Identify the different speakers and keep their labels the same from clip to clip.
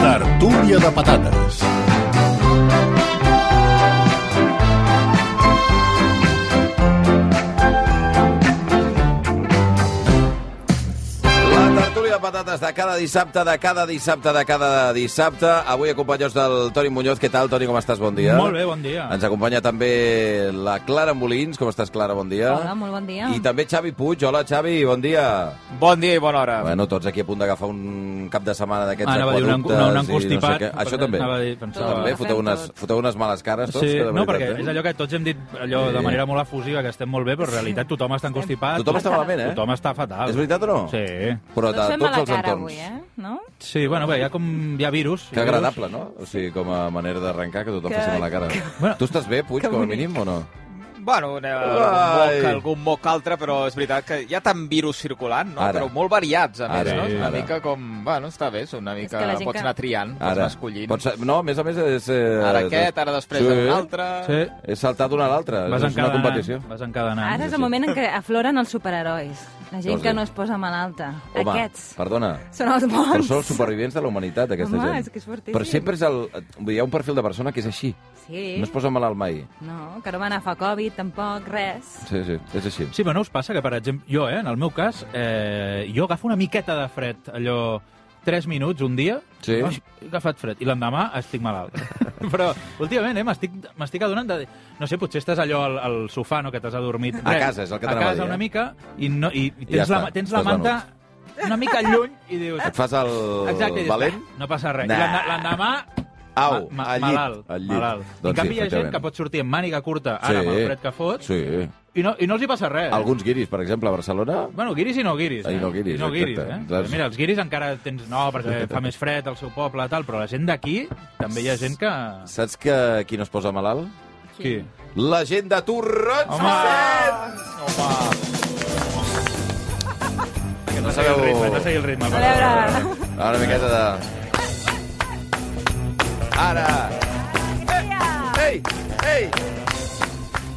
Speaker 1: Tertúlia de patates.
Speaker 2: La tertúlia de patates de cada dissabte, de cada dissabte, de cada dissabte. Avui acompanyats del Toni Muñoz. Què tal, Toni? Com estàs? Bon dia.
Speaker 3: Molt bé, bon dia.
Speaker 2: Ens acompanya també la Clara Molins. Com estàs, Clara? Bon dia.
Speaker 4: Hola, molt bon dia.
Speaker 2: I també Xavi Puig. Hola, Xavi, bon dia.
Speaker 5: Bon dia i bona hora.
Speaker 2: Bueno, tots aquí a punt d'agafar un cap de setmana d'aquests
Speaker 3: Anava a dir un, un,
Speaker 2: aqueductes
Speaker 3: un
Speaker 2: i No
Speaker 3: encostipat.
Speaker 2: sé què. Això
Speaker 3: perquè
Speaker 2: també.
Speaker 3: Anava a dir, pensava...
Speaker 2: També foteu unes, foteu unes males cares tots,
Speaker 3: Sí,
Speaker 2: que de
Speaker 3: no,
Speaker 2: veritat,
Speaker 3: perquè
Speaker 2: eh?
Speaker 3: és allò que tots hem dit allò de
Speaker 2: Sí.
Speaker 3: manera molt efusiva, que estem molt bé, però en realitat tothom està encostipat.
Speaker 2: Tothom està malament, eh?
Speaker 3: Tothom està fatal.
Speaker 2: És veritat o no?
Speaker 3: Sí.
Speaker 2: Però de
Speaker 4: Tots fem
Speaker 2: tots
Speaker 4: mala
Speaker 2: els
Speaker 4: cara
Speaker 2: entorns.
Speaker 4: avui, eh? No?
Speaker 3: Sí, bueno, bé, hi ha com... Hi ha virus.
Speaker 2: Que agradable, no? O sigui, com a manera d'arrencar, que tothom
Speaker 4: Que-
Speaker 2: faci mala cara.
Speaker 3: Bueno.
Speaker 2: Tu estàs bé, Puig, com a mínim, o no?
Speaker 5: Bueno, eh, algun moc,
Speaker 2: Ai.
Speaker 5: algun moc altre, però és veritat que hi ha tant virus circulant, no?
Speaker 2: Ara.
Speaker 5: però molt variats, a més,
Speaker 2: Ara,
Speaker 5: no? És una
Speaker 2: ara.
Speaker 5: mica com... Bueno, està bé, és una
Speaker 4: És
Speaker 5: mica...
Speaker 4: que la gent
Speaker 5: pots
Speaker 4: que-
Speaker 5: anar triant, pots
Speaker 2: Ara.
Speaker 5: anar escollint.
Speaker 2: Pots, no, a més a més és... Eh,
Speaker 5: Ara aquest, ara després
Speaker 2: sí.
Speaker 5: un altre...
Speaker 3: Sí.
Speaker 2: He saltat una a l'altra. És
Speaker 3: Vas
Speaker 2: una
Speaker 3: encadenant.
Speaker 2: competició.
Speaker 3: Vas encadenant.
Speaker 4: Ara és el moment en què afloren els superherois. La gent
Speaker 2: Vols
Speaker 4: que
Speaker 2: dir?
Speaker 4: no es posa malalta.
Speaker 2: Doncs Home,
Speaker 4: Aquests
Speaker 2: perdona.
Speaker 4: són els
Speaker 2: Però
Speaker 4: bons.
Speaker 2: són els supervivents de la humanitat, aquesta
Speaker 4: Home,
Speaker 2: gent.
Speaker 4: és que és fortíssim.
Speaker 2: Però sempre és el... Vull dir, hi ha un perfil de persona que és així.
Speaker 4: Sí.
Speaker 2: No es posa malalt mai.
Speaker 4: No, que no van a fa Covid, tampoc, res.
Speaker 2: Sí, sí, és així.
Speaker 3: Sí, però no us passa que, per exemple, jo, eh, en el meu cas, eh, jo agafo una miqueta de fred, allò, 3 minuts un dia,
Speaker 2: Sí.
Speaker 3: "Ai, he agafat fred, i l'endemà estic malalt. però últimament, eh, m'estic m'estic adonant de... No sé, potser estàs allò al, al sofà, no?, que t'has adormit.
Speaker 2: A casa, és el que
Speaker 3: A
Speaker 2: t'anava a
Speaker 3: casa
Speaker 2: dir, eh?
Speaker 3: una mica, i, no, i, i
Speaker 2: I ja
Speaker 3: tens, la,
Speaker 2: està,
Speaker 3: tens la
Speaker 2: estàs
Speaker 3: manta una mica lluny i dius...
Speaker 2: Et fas el
Speaker 3: Exacte, i dius,
Speaker 2: valent?
Speaker 3: "Ah, no passa res.
Speaker 2: Nah.
Speaker 3: I l'endemà- l'endemà...
Speaker 2: Au,
Speaker 3: ma- ma-
Speaker 2: al llit.
Speaker 3: malalt,
Speaker 2: al llit.
Speaker 3: malalt.
Speaker 2: Doncs
Speaker 3: en
Speaker 2: sí,
Speaker 3: canvi, hi ha gent
Speaker 2: efectivament.
Speaker 3: que pot sortir amb màniga curta, ara,
Speaker 2: Sí.
Speaker 3: amb el fred que fot,
Speaker 2: Sí.
Speaker 3: i, no, i no els hi passa res.
Speaker 2: Alguns guiris, per exemple, a Barcelona...
Speaker 3: Bueno, guiris i no guiris. eh?
Speaker 2: Ah, i no guiris,
Speaker 3: I no guiris,
Speaker 2: exacte.
Speaker 3: eh?
Speaker 2: Clar.
Speaker 3: Mira, els guiris encara tens... No, perquè fa més fred al seu poble, tal, però la gent d'aquí també hi ha gent que...
Speaker 2: Saps que qui no es posa malalt?
Speaker 3: Qui?
Speaker 2: La gent de Torrons!
Speaker 3: Home!
Speaker 2: Que
Speaker 3: No seguir el ritme, no seguir el ritme.
Speaker 4: A
Speaker 3: Per favor.
Speaker 4: veure,
Speaker 2: Ara una miqueta de... Ara! Ei! Ei!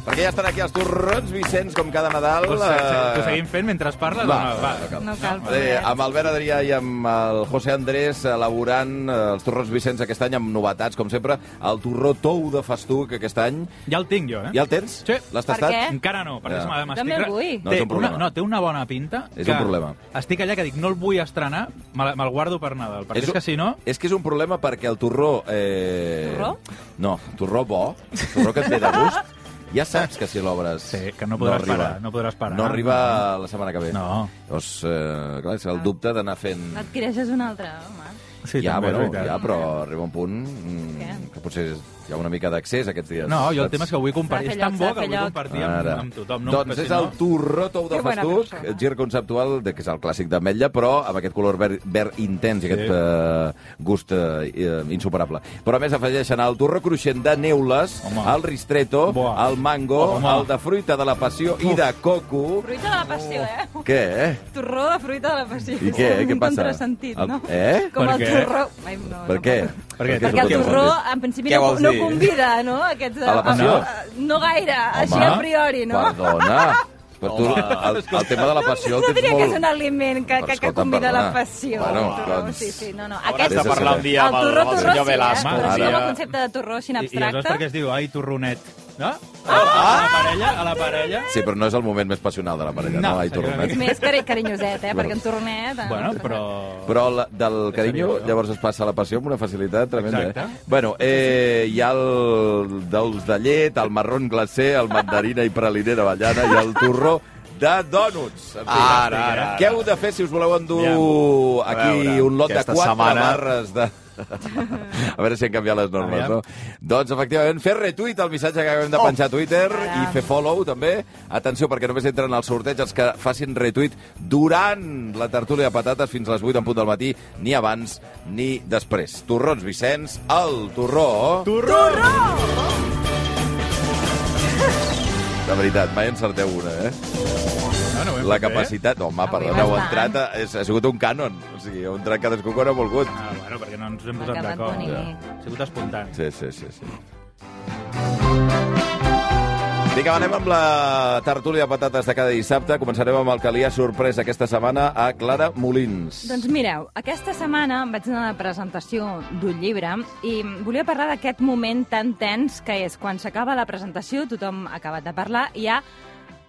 Speaker 2: Perquè ja estan aquí els torrons, Vicenç, com cada Nadal.
Speaker 3: Ho se- se-
Speaker 2: eh,
Speaker 3: Ho seguim fent mentre parles?
Speaker 2: Va,
Speaker 3: o no? va.
Speaker 4: no cal.
Speaker 2: Eh,
Speaker 4: res.
Speaker 2: amb Albert Adrià i amb el José Andrés elaborant eh, els torrons Vicenç aquest any amb novetats, com sempre. El torró tou de festuc aquest any.
Speaker 3: Ja el tinc jo, eh?
Speaker 2: Ja el tens?
Speaker 3: Sí.
Speaker 2: L'has
Speaker 4: Per
Speaker 2: tastat?
Speaker 4: què?
Speaker 3: Encara no, perquè
Speaker 2: Ja.
Speaker 3: ja. m'estic...
Speaker 4: També el Eh? vull.
Speaker 2: No, és
Speaker 3: Té
Speaker 2: un problema.
Speaker 3: Una, no, té una bona pinta.
Speaker 2: És
Speaker 3: que
Speaker 2: un problema.
Speaker 3: Estic allà que dic, no el vull estrenar, me, la- me'l guardo per Nadal, perquè és,
Speaker 2: un-
Speaker 3: que si no...
Speaker 2: És que és un problema perquè el torró... Eh...
Speaker 4: Torró?
Speaker 2: No, torró bo, torró que et ve de gust, ja saps que si l'obres...
Speaker 3: Sí, que no podràs
Speaker 2: arriba.
Speaker 3: parar, no podràs parar.
Speaker 2: No arriba la setmana que ve.
Speaker 3: No.
Speaker 2: Llavors, eh, clar, és el dubte d'anar fent...
Speaker 4: Adquireixes un altre, home.
Speaker 3: Sí,
Speaker 2: ja,
Speaker 3: també, és
Speaker 2: bueno,
Speaker 3: veritat.
Speaker 2: ja, però arriba un punt mm,
Speaker 4: Què?
Speaker 2: que potser hi ha una mica d'accés aquests dies.
Speaker 3: No, jo
Speaker 2: saps?
Speaker 3: el tema és que ho vull compartir.
Speaker 4: S'ha
Speaker 3: És
Speaker 4: de fer
Speaker 3: tan
Speaker 4: lloc, s'ha de
Speaker 3: bo que
Speaker 4: fer
Speaker 3: el vull
Speaker 4: lloc.
Speaker 3: compartir amb,
Speaker 2: Ara.
Speaker 3: amb tothom. No?
Speaker 2: doncs
Speaker 3: Perquè
Speaker 2: és
Speaker 3: si
Speaker 2: el
Speaker 3: no-
Speaker 2: torró tou de
Speaker 4: Que bona
Speaker 2: festuc,
Speaker 4: persona. eh?
Speaker 2: gir conceptual, de, que és el clàssic d'ametlla, però amb aquest color verd, verd intens i aquest eh, gust eh, eh, insuperable. Però a més afegeixen el torró cruixent de neules,
Speaker 3: Home.
Speaker 2: el ristretto,
Speaker 3: Buah.
Speaker 2: el mango,
Speaker 3: Home.
Speaker 2: el de fruita de la passió i de coco...
Speaker 4: Fruita de la passió, eh?
Speaker 2: Què, eh?
Speaker 4: Torró de fruita de la passió.
Speaker 2: I què?
Speaker 4: Un
Speaker 2: Què passa?
Speaker 4: contrasentit, no?
Speaker 2: El- eh?
Speaker 4: Com
Speaker 3: Per
Speaker 4: el
Speaker 3: què?
Speaker 4: torró... Ai, no,
Speaker 2: Per
Speaker 4: no
Speaker 2: què?
Speaker 4: pot-
Speaker 3: Per què?
Speaker 2: és
Speaker 4: Perquè el
Speaker 2: un
Speaker 4: torró,
Speaker 2: contrasentit.
Speaker 4: en principi,
Speaker 5: Què
Speaker 4: no,
Speaker 5: vols
Speaker 4: no
Speaker 5: dir?
Speaker 4: convida, no? Aquests,
Speaker 2: A la passió?
Speaker 4: No, no gaire, així a priori, eh, no?
Speaker 2: Perdona. Però tu, el, el tema de la passió
Speaker 4: No
Speaker 2: el tens
Speaker 4: diria que
Speaker 2: molt...
Speaker 4: és un aliment que, que, que
Speaker 2: Escolta,
Speaker 4: convida la
Speaker 2: perdona.
Speaker 4: passió.
Speaker 2: Bueno,
Speaker 4: el torró,
Speaker 2: doncs-
Speaker 4: sí, sí, no, no.
Speaker 5: Hauràs
Speaker 4: Aquest,
Speaker 5: de parlar un dia amb el,
Speaker 4: el torró,
Speaker 5: amb el
Speaker 4: torró,
Speaker 5: senyor
Speaker 4: sí, eh?
Speaker 5: Velasco.
Speaker 4: Però
Speaker 3: Ara.
Speaker 4: sí, el concepte de torró així en
Speaker 3: I, I aleshores per què
Speaker 4: abstracte...
Speaker 3: es diu, ai, torronet? No? Ah! A la parella, a la parella...
Speaker 2: Sí, però no és el moment més passional de la parella, no,
Speaker 3: No,
Speaker 2: no eh? Ai,
Speaker 3: seria una
Speaker 2: tornem.
Speaker 4: És més cari carinyoset, eh? Perquè en tornet... eh,
Speaker 3: Bueno,
Speaker 4: no
Speaker 3: però...
Speaker 2: Però la, del carinyo
Speaker 3: seriós, no?
Speaker 2: llavors es passa a la passió amb una facilitat tremenda. Eh?
Speaker 3: Exacte.
Speaker 2: Bueno, eh, hi ha el d'ous de llet, el marron glacé, el mandarina i praliner d'avellana i el torró de dònuts. En fi,
Speaker 5: Ah, Ara, ara, ara.
Speaker 2: Què heu de fer si us voleu endur
Speaker 5: Aviam.
Speaker 2: aquí
Speaker 5: A veure,
Speaker 2: un lot de
Speaker 5: aquesta
Speaker 2: quatre
Speaker 5: setmana-
Speaker 2: barres de... A veure si han canviat les normes,
Speaker 3: Aviam.
Speaker 2: no? Doncs, efectivament, fer retuit al missatge que acabem de penjar a Twitter i
Speaker 4: Caram.
Speaker 2: fer follow, també. Atenció, perquè només entren al sorteig els que facin retuit durant la tertúlia de patates fins a les 8 en punt del matí, ni abans ni després. Torrons Vicenç, el torró... De veritat, mai encerteu una, eh?
Speaker 3: No, no ho hem
Speaker 2: La
Speaker 3: fet bé.
Speaker 2: capacitat... No, home,
Speaker 4: eh? Avui
Speaker 2: perdona, heu
Speaker 4: bastant.
Speaker 2: entrat... A, és, ha sigut un cànon. O sigui, heu entrat cadascú quan ha volgut.
Speaker 3: Ah, bueno, perquè no ens hem
Speaker 4: Ha
Speaker 3: posat
Speaker 4: quedat
Speaker 3: d'acord.
Speaker 4: bonic.
Speaker 3: Ha sigut espontani.
Speaker 2: Sí, sí, sí, sí. Vinga, va, anem amb la tertúlia de patates de cada dissabte. Començarem amb el que li ha sorprès aquesta setmana a Clara Molins.
Speaker 4: Doncs mireu, aquesta setmana em vaig anar a la presentació d'un llibre i volia parlar d'aquest moment tan tens que és quan s'acaba la presentació, tothom ha acabat de parlar i hi ha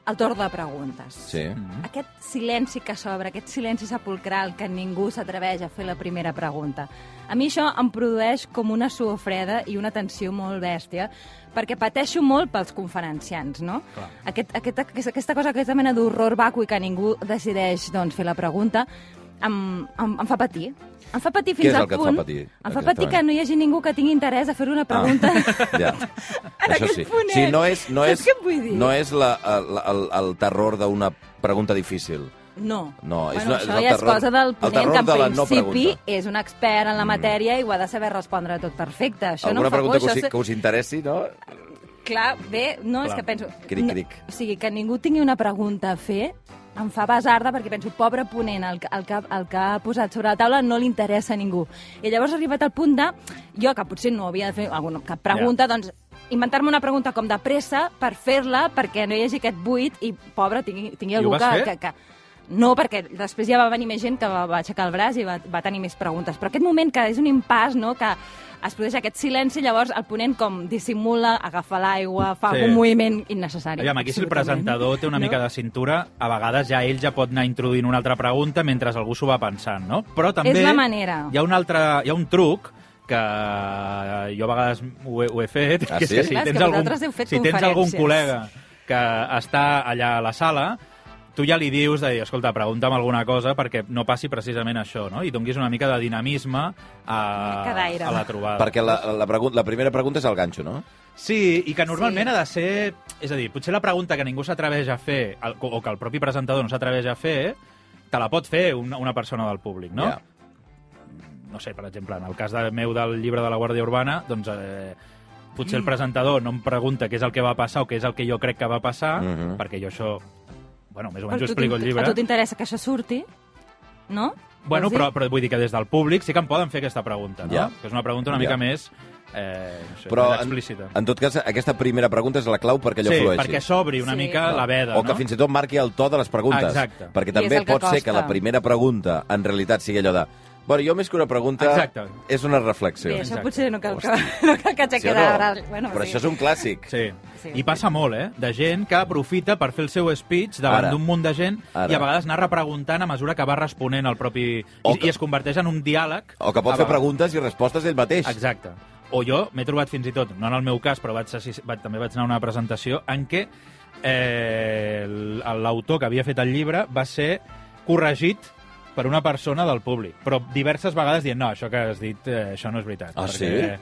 Speaker 4: el torn de preguntes.
Speaker 2: Sí.
Speaker 4: Aquest silenci que s'obre, aquest silenci sepulcral que ningú s'atreveix a fer la primera pregunta. A mi això em produeix com una suor freda i una tensió molt bèstia, perquè pateixo molt pels conferenciants, no? Aquest, aquest, aquesta, aquesta cosa, aquesta mena d'horror vacui que ningú decideix doncs, fer la pregunta, em, em, em fa patir. Em fa patir fins
Speaker 2: és el
Speaker 4: al
Speaker 2: que et fa
Speaker 4: punt...
Speaker 2: patir,
Speaker 4: Em fa patir
Speaker 2: exactament?
Speaker 4: que no hi hagi ningú que tingui interès a fer una pregunta.
Speaker 2: Ah, Ja.
Speaker 4: En
Speaker 2: Això
Speaker 4: aquest
Speaker 2: sí.
Speaker 4: punt
Speaker 2: sí
Speaker 4: és.
Speaker 2: no és, no
Speaker 4: Saps
Speaker 2: és,
Speaker 4: què et vull dir?
Speaker 2: no és la, el, el, el terror d'una pregunta difícil.
Speaker 4: No.
Speaker 2: No, és
Speaker 4: bueno,
Speaker 2: una- és
Speaker 4: això
Speaker 2: el
Speaker 4: ja és
Speaker 2: terror-
Speaker 4: cosa del
Speaker 2: el
Speaker 4: ponent, que
Speaker 2: terror
Speaker 4: en
Speaker 2: de la no
Speaker 4: principi
Speaker 2: pregunta. Mm.
Speaker 4: és un expert en la matèria i ho ha de saber respondre tot perfecte. Això
Speaker 2: Alguna
Speaker 4: no em fa
Speaker 2: pregunta
Speaker 4: por,
Speaker 2: que, us, que
Speaker 4: això...
Speaker 2: us interessi, no?
Speaker 4: és- Clar, bé, no, és
Speaker 3: Clar.
Speaker 4: que penso...
Speaker 2: Cric, cric.
Speaker 4: No, o sigui, que ningú tingui una pregunta a fer em fa basarda perquè penso, pobre ponent, el, que- el, que, el que ha posat sobre la taula no li interessa a ningú. I llavors he arribat al punt de, jo que potser no havia de fer alguna, cap pregunta, doncs inventar-me una pregunta com de pressa per fer-la perquè no hi hagi aquest buit i, pobre, tingui, tingui
Speaker 3: I ho
Speaker 4: algú
Speaker 3: vas
Speaker 4: que,
Speaker 3: fer?
Speaker 4: que, que... No, perquè després ja va venir més gent que va, va aixecar el braç i va, va tenir més preguntes. Però aquest moment que és un impàs, no?, que es produeix aquest silenci, llavors el ponent com dissimula, agafa l'aigua, fa
Speaker 3: Sí.
Speaker 4: sí. un moviment innecessari.
Speaker 3: Aviam, aquí si el
Speaker 4: absolutament.
Speaker 3: presentador té una mica de cintura, a vegades ja ell ja pot anar introduint una altra pregunta mentre algú s'ho va pensant, no? Però també...
Speaker 4: És la manera.
Speaker 3: Hi ha un altre... Hi ha un truc que eh, jo a vegades ho he, ho he fet.
Speaker 2: Ah,
Speaker 3: que és
Speaker 2: sí?
Speaker 3: que si
Speaker 4: Clar, és
Speaker 3: tens
Speaker 4: que
Speaker 3: algun,
Speaker 4: vosaltres heu fet
Speaker 3: si tens algun
Speaker 4: conferències.
Speaker 3: col·lega que està allà a la sala, tu ja li dius de dir, escolta, pregunta'm alguna cosa perquè no passi precisament això, no? I donguis una mica de dinamisme a,
Speaker 4: mica d'aire.
Speaker 3: a la
Speaker 4: Ah.
Speaker 3: trobada.
Speaker 2: Perquè la, la, pregun la primera pregunta és el ganxo, no?
Speaker 3: Sí, i que normalment
Speaker 4: Sí.
Speaker 3: ha de ser... És a dir, potser la pregunta que ningú s'atreveix a fer, el- o que el propi presentador no s'atreveix a fer, te la pot fer una, una persona del públic, no?
Speaker 2: Ja.
Speaker 3: No sé, per exemple, en el cas de meu del llibre de la Guàrdia Urbana, doncs eh, potser
Speaker 4: Mm.
Speaker 3: el presentador no em pregunta què és el que va passar o què és el que jo crec que va passar,
Speaker 2: Mhm.
Speaker 3: perquè jo això... Bueno, més o
Speaker 4: Però
Speaker 3: menys
Speaker 4: tu
Speaker 3: ho explico al
Speaker 4: t'in-
Speaker 3: llibre.
Speaker 4: A tu t'interessa que això surti, no?
Speaker 3: Bueno,
Speaker 4: Vols dir?
Speaker 3: però, però vull dir que des del públic sí que em poden fer aquesta pregunta, no?
Speaker 2: Ja.
Speaker 3: Que és una pregunta una
Speaker 2: Ja.
Speaker 3: mica més... Eh, no sé,
Speaker 2: Però,
Speaker 3: més
Speaker 2: en,
Speaker 3: explícita.
Speaker 2: en tot cas, aquesta primera pregunta és la clau perquè allò
Speaker 3: sí,
Speaker 2: flueixi.
Speaker 3: perquè s'obri una
Speaker 4: Sí.
Speaker 3: mica la veda,
Speaker 2: o que
Speaker 3: no?
Speaker 2: fins i tot marqui el to de les preguntes.
Speaker 3: Exacte.
Speaker 2: Perquè
Speaker 4: I
Speaker 2: també
Speaker 4: és el que
Speaker 2: pot ser
Speaker 4: costa.
Speaker 2: que la primera pregunta en realitat sigui allò de... Bueno, jo més que una pregunta
Speaker 3: Exacte.
Speaker 2: és una reflexió.
Speaker 4: Bé, això
Speaker 3: Exacte.
Speaker 4: potser no cal, que, no cal que aixequi
Speaker 2: Sí o
Speaker 4: la
Speaker 2: no?
Speaker 4: braç. Bueno,
Speaker 2: Però
Speaker 4: sí.
Speaker 2: això és un clàssic.
Speaker 3: Sí.
Speaker 4: Sí.
Speaker 3: I passa molt, eh? De gent que aprofita per fer el seu speech
Speaker 2: Ara.
Speaker 3: davant d'un munt de gent
Speaker 2: Ara.
Speaker 3: i a vegades anar repreguntant a mesura que va responent el propi...
Speaker 2: O
Speaker 3: I,
Speaker 2: que-
Speaker 3: I es converteix en un diàleg.
Speaker 2: O que pot
Speaker 3: A
Speaker 2: fer
Speaker 3: vegades.
Speaker 2: preguntes i respostes ell mateix.
Speaker 3: Ah, Exacte. O jo m'he trobat fins i tot, no en el meu cas, però vaig, assis- vaig, també vaig anar a una presentació en què eh, l- l'autor que havia fet el llibre va ser corregit per una persona del públic, però diverses vegades dient no, això que has dit, eh, això no és veritat.
Speaker 2: Ah,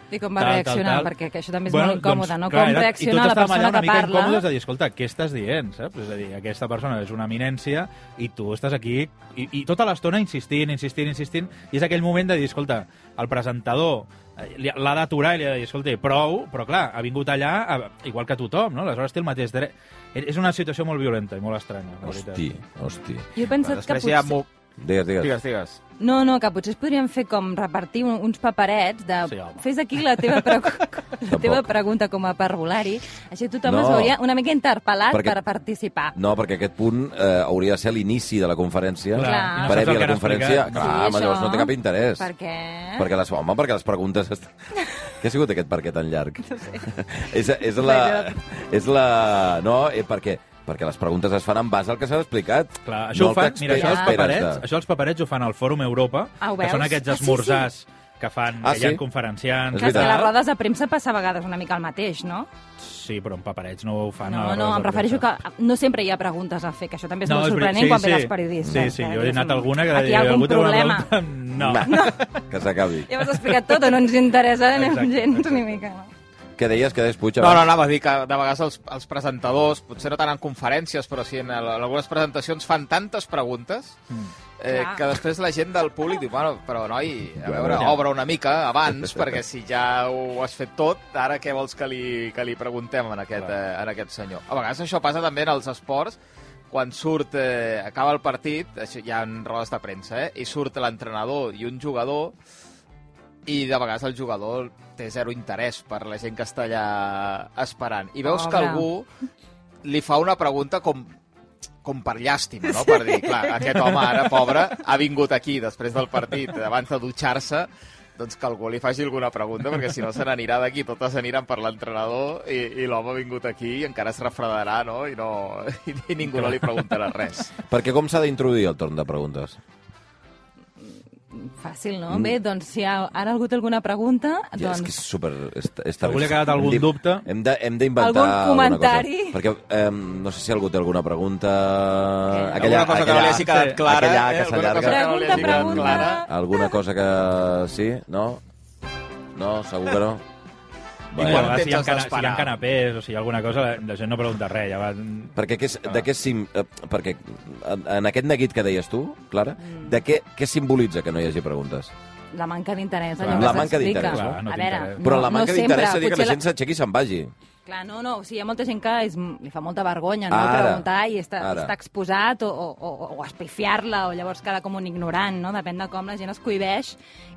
Speaker 4: I com va reaccionar? Perquè que això també és molt incòmode, no? Com
Speaker 3: doncs, era-
Speaker 4: reacciona
Speaker 3: i tots
Speaker 4: la
Speaker 3: estàvem allà
Speaker 4: persona
Speaker 3: una
Speaker 4: que
Speaker 3: mica
Speaker 4: parla?
Speaker 3: incòmodes de dir, escolta, què estàs dient, saps? És a dir, aquesta persona és una eminència i tu estàs aquí i, i tota l'estona insistint, insistint, insistint, i és aquell moment de dir, escolta, el presentador eh, li- l'ha d'aturar i li ha de dir, escolta, prou, però clar, ha vingut allà a, igual que tothom, no? Aleshores té el mateix dret. És és una situació molt violenta i molt estranya, la veritat.
Speaker 2: Hosti, hosti.
Speaker 4: Jo he pensat
Speaker 5: Després
Speaker 4: que potser...
Speaker 5: hi ha... Mo...
Speaker 2: Digues, digues.
Speaker 5: Digues, digues.
Speaker 4: No, no, que potser es podrien fer com repartir un, uns paperets de
Speaker 3: Sí, home.
Speaker 4: fes aquí la teva, pregu la teva
Speaker 2: Tampoc.
Speaker 4: pregunta com a parvulari. Així tothom
Speaker 2: No.
Speaker 4: es veuria una mica interpel·lat
Speaker 2: Perquè-
Speaker 4: perquè... per participar.
Speaker 2: No, perquè aquest punt eh, hauria de ser l'inici de la conferència.
Speaker 3: Clar.
Speaker 4: Clar. I no saps
Speaker 2: Previ
Speaker 3: el
Speaker 2: a
Speaker 3: que
Speaker 2: la
Speaker 3: han
Speaker 2: conferència.
Speaker 3: explicat.
Speaker 2: Clar,
Speaker 4: Sí,
Speaker 2: home, llavors
Speaker 4: això.
Speaker 2: no té cap interès.
Speaker 4: Per què?
Speaker 2: Perquè les, home, perquè les preguntes... Est... Què ha sigut aquest per què tan llarg? No sé. és, és la... És la... No, eh, perquè, perquè les preguntes es fan en base al que s'ha explicat.
Speaker 3: Clar, això
Speaker 2: no
Speaker 3: ho fan, mira, això els
Speaker 4: t'esperes
Speaker 3: paperets, això els paperets ho fan al Fòrum Europa,
Speaker 4: Ah, ho
Speaker 3: que
Speaker 4: veus?
Speaker 3: són aquests
Speaker 4: Ah, sí,
Speaker 3: esmorzars ah, sí, sí. que fan,
Speaker 2: Ah,
Speaker 3: que hi ha
Speaker 2: sí?
Speaker 3: conferenciants...
Speaker 2: És
Speaker 4: Clar, és que
Speaker 2: veritat.
Speaker 4: a les rodes de premsa passa a vegades una mica el mateix, no?
Speaker 3: Sí, però en paperets no ho
Speaker 2: Ah,
Speaker 3: fan. a
Speaker 4: No,
Speaker 3: les
Speaker 4: no,
Speaker 3: rodes
Speaker 4: em
Speaker 3: de
Speaker 4: refereixo que
Speaker 3: premsa.
Speaker 4: no sempre hi ha preguntes a fer, que això també és
Speaker 3: No,
Speaker 4: molt
Speaker 3: és veritat,
Speaker 4: sorprenent
Speaker 3: sí,
Speaker 4: quan ve
Speaker 3: sí.
Speaker 4: dels periodistes.
Speaker 3: Sí, sí,
Speaker 4: que
Speaker 3: jo he
Speaker 4: dius,
Speaker 3: anat a alguna que
Speaker 4: Aquí hi ha algun
Speaker 3: algú té una
Speaker 4: problema.
Speaker 3: pregunta- No.
Speaker 2: Va, que s'acabi.
Speaker 4: Ja m'has explicat tot, o no ens interessa ni
Speaker 3: Exacte,
Speaker 4: gens
Speaker 3: exacte.
Speaker 4: ni mica. No?
Speaker 2: Que deies que despuig
Speaker 5: No, no, anava a dir que de vegades els, els presentadors, potser no tant en conferències, però sí en, el- en algunes presentacions, fan tantes preguntes
Speaker 2: Mm.
Speaker 5: eh,
Speaker 4: Clar.
Speaker 5: que després la gent del públic diu, bueno, però noi, a
Speaker 2: Bueno.
Speaker 5: veure, obre una mica abans, perquè si ja ho has fet tot, ara què vols que li, que li preguntem en aquest, eh, en aquest senyor? A vegades això passa també en els esports, quan surt, eh, acaba el partit, això hi ha rodes de premsa, eh, i surt l'entrenador i un jugador, i de vegades el jugador té zero interès per la gent que està allà esperant. I veus que
Speaker 4: Pobre.
Speaker 5: algú li fa una pregunta com, com per llàstima, no? Per dir, clar, aquest home ara, pobre, ha vingut aquí després del partit, abans de dutxar-se, doncs que algú li faci alguna pregunta, perquè si no se n'anirà d'aquí, totes aniran per l'entrenador i, i l'home ha vingut aquí i encara es refredarà, no? I, no, i, i ningú no li preguntarà res.
Speaker 2: Perquè com s'ha d'introduir el torn de preguntes?
Speaker 4: Fàcil, no? Bé, doncs si ha, ara algú té alguna pregunta,
Speaker 2: Mm. Ja, és que és
Speaker 4: doncs...
Speaker 2: super... És, és
Speaker 3: algú li ha quedat algun
Speaker 2: Hem d'in-
Speaker 3: dubte.
Speaker 2: Hem de- Hem d'inventar
Speaker 4: Algun
Speaker 2: alguna
Speaker 4: comentari?
Speaker 2: Cosa. Perquè eh, no sé si algú té alguna pregunta...
Speaker 5: Alguna cosa que no li hagi quedat clara, eh? Alguna
Speaker 2: aquella que
Speaker 5: cosa que no li
Speaker 4: Pregunta,
Speaker 5: hagi quedat
Speaker 4: pregunta.
Speaker 5: clara.
Speaker 2: Alguna cosa que... Sí? No? No? Segur que no?
Speaker 3: I
Speaker 2: Bé.
Speaker 3: quan
Speaker 5: Quant
Speaker 3: si hi, ha
Speaker 5: temps has
Speaker 3: cana, si hi ha
Speaker 5: d'esperar?
Speaker 3: canapés o si hi ha alguna cosa, la, la gent no pregunta res. Ja va...
Speaker 2: Perquè què, és- de què sim, eh, perquè en, en aquest neguit que deies tu, Clara,
Speaker 4: Mm.
Speaker 2: de què, què simbolitza que no hi hagi preguntes?
Speaker 4: La manca d'interès, allò
Speaker 2: Clar.
Speaker 4: que
Speaker 2: La manca
Speaker 4: s'explica.
Speaker 2: d'interès,
Speaker 3: Clar, no
Speaker 4: a
Speaker 3: té
Speaker 4: veure,
Speaker 3: interès.
Speaker 2: Però la manca
Speaker 4: no sempre,
Speaker 2: d'interès seria que
Speaker 4: potser
Speaker 2: la gent s'aixequi i se'n vagi.
Speaker 4: Clar, no, no, o sigui, hi ha molta gent que és, li fa molta vergonya no,
Speaker 2: Ara,
Speaker 4: preguntar i està,
Speaker 2: ara.
Speaker 4: està exposat o, o, o, o espifiar-la o llavors queda com un ignorant, no? Depèn de com la gent es cohibeix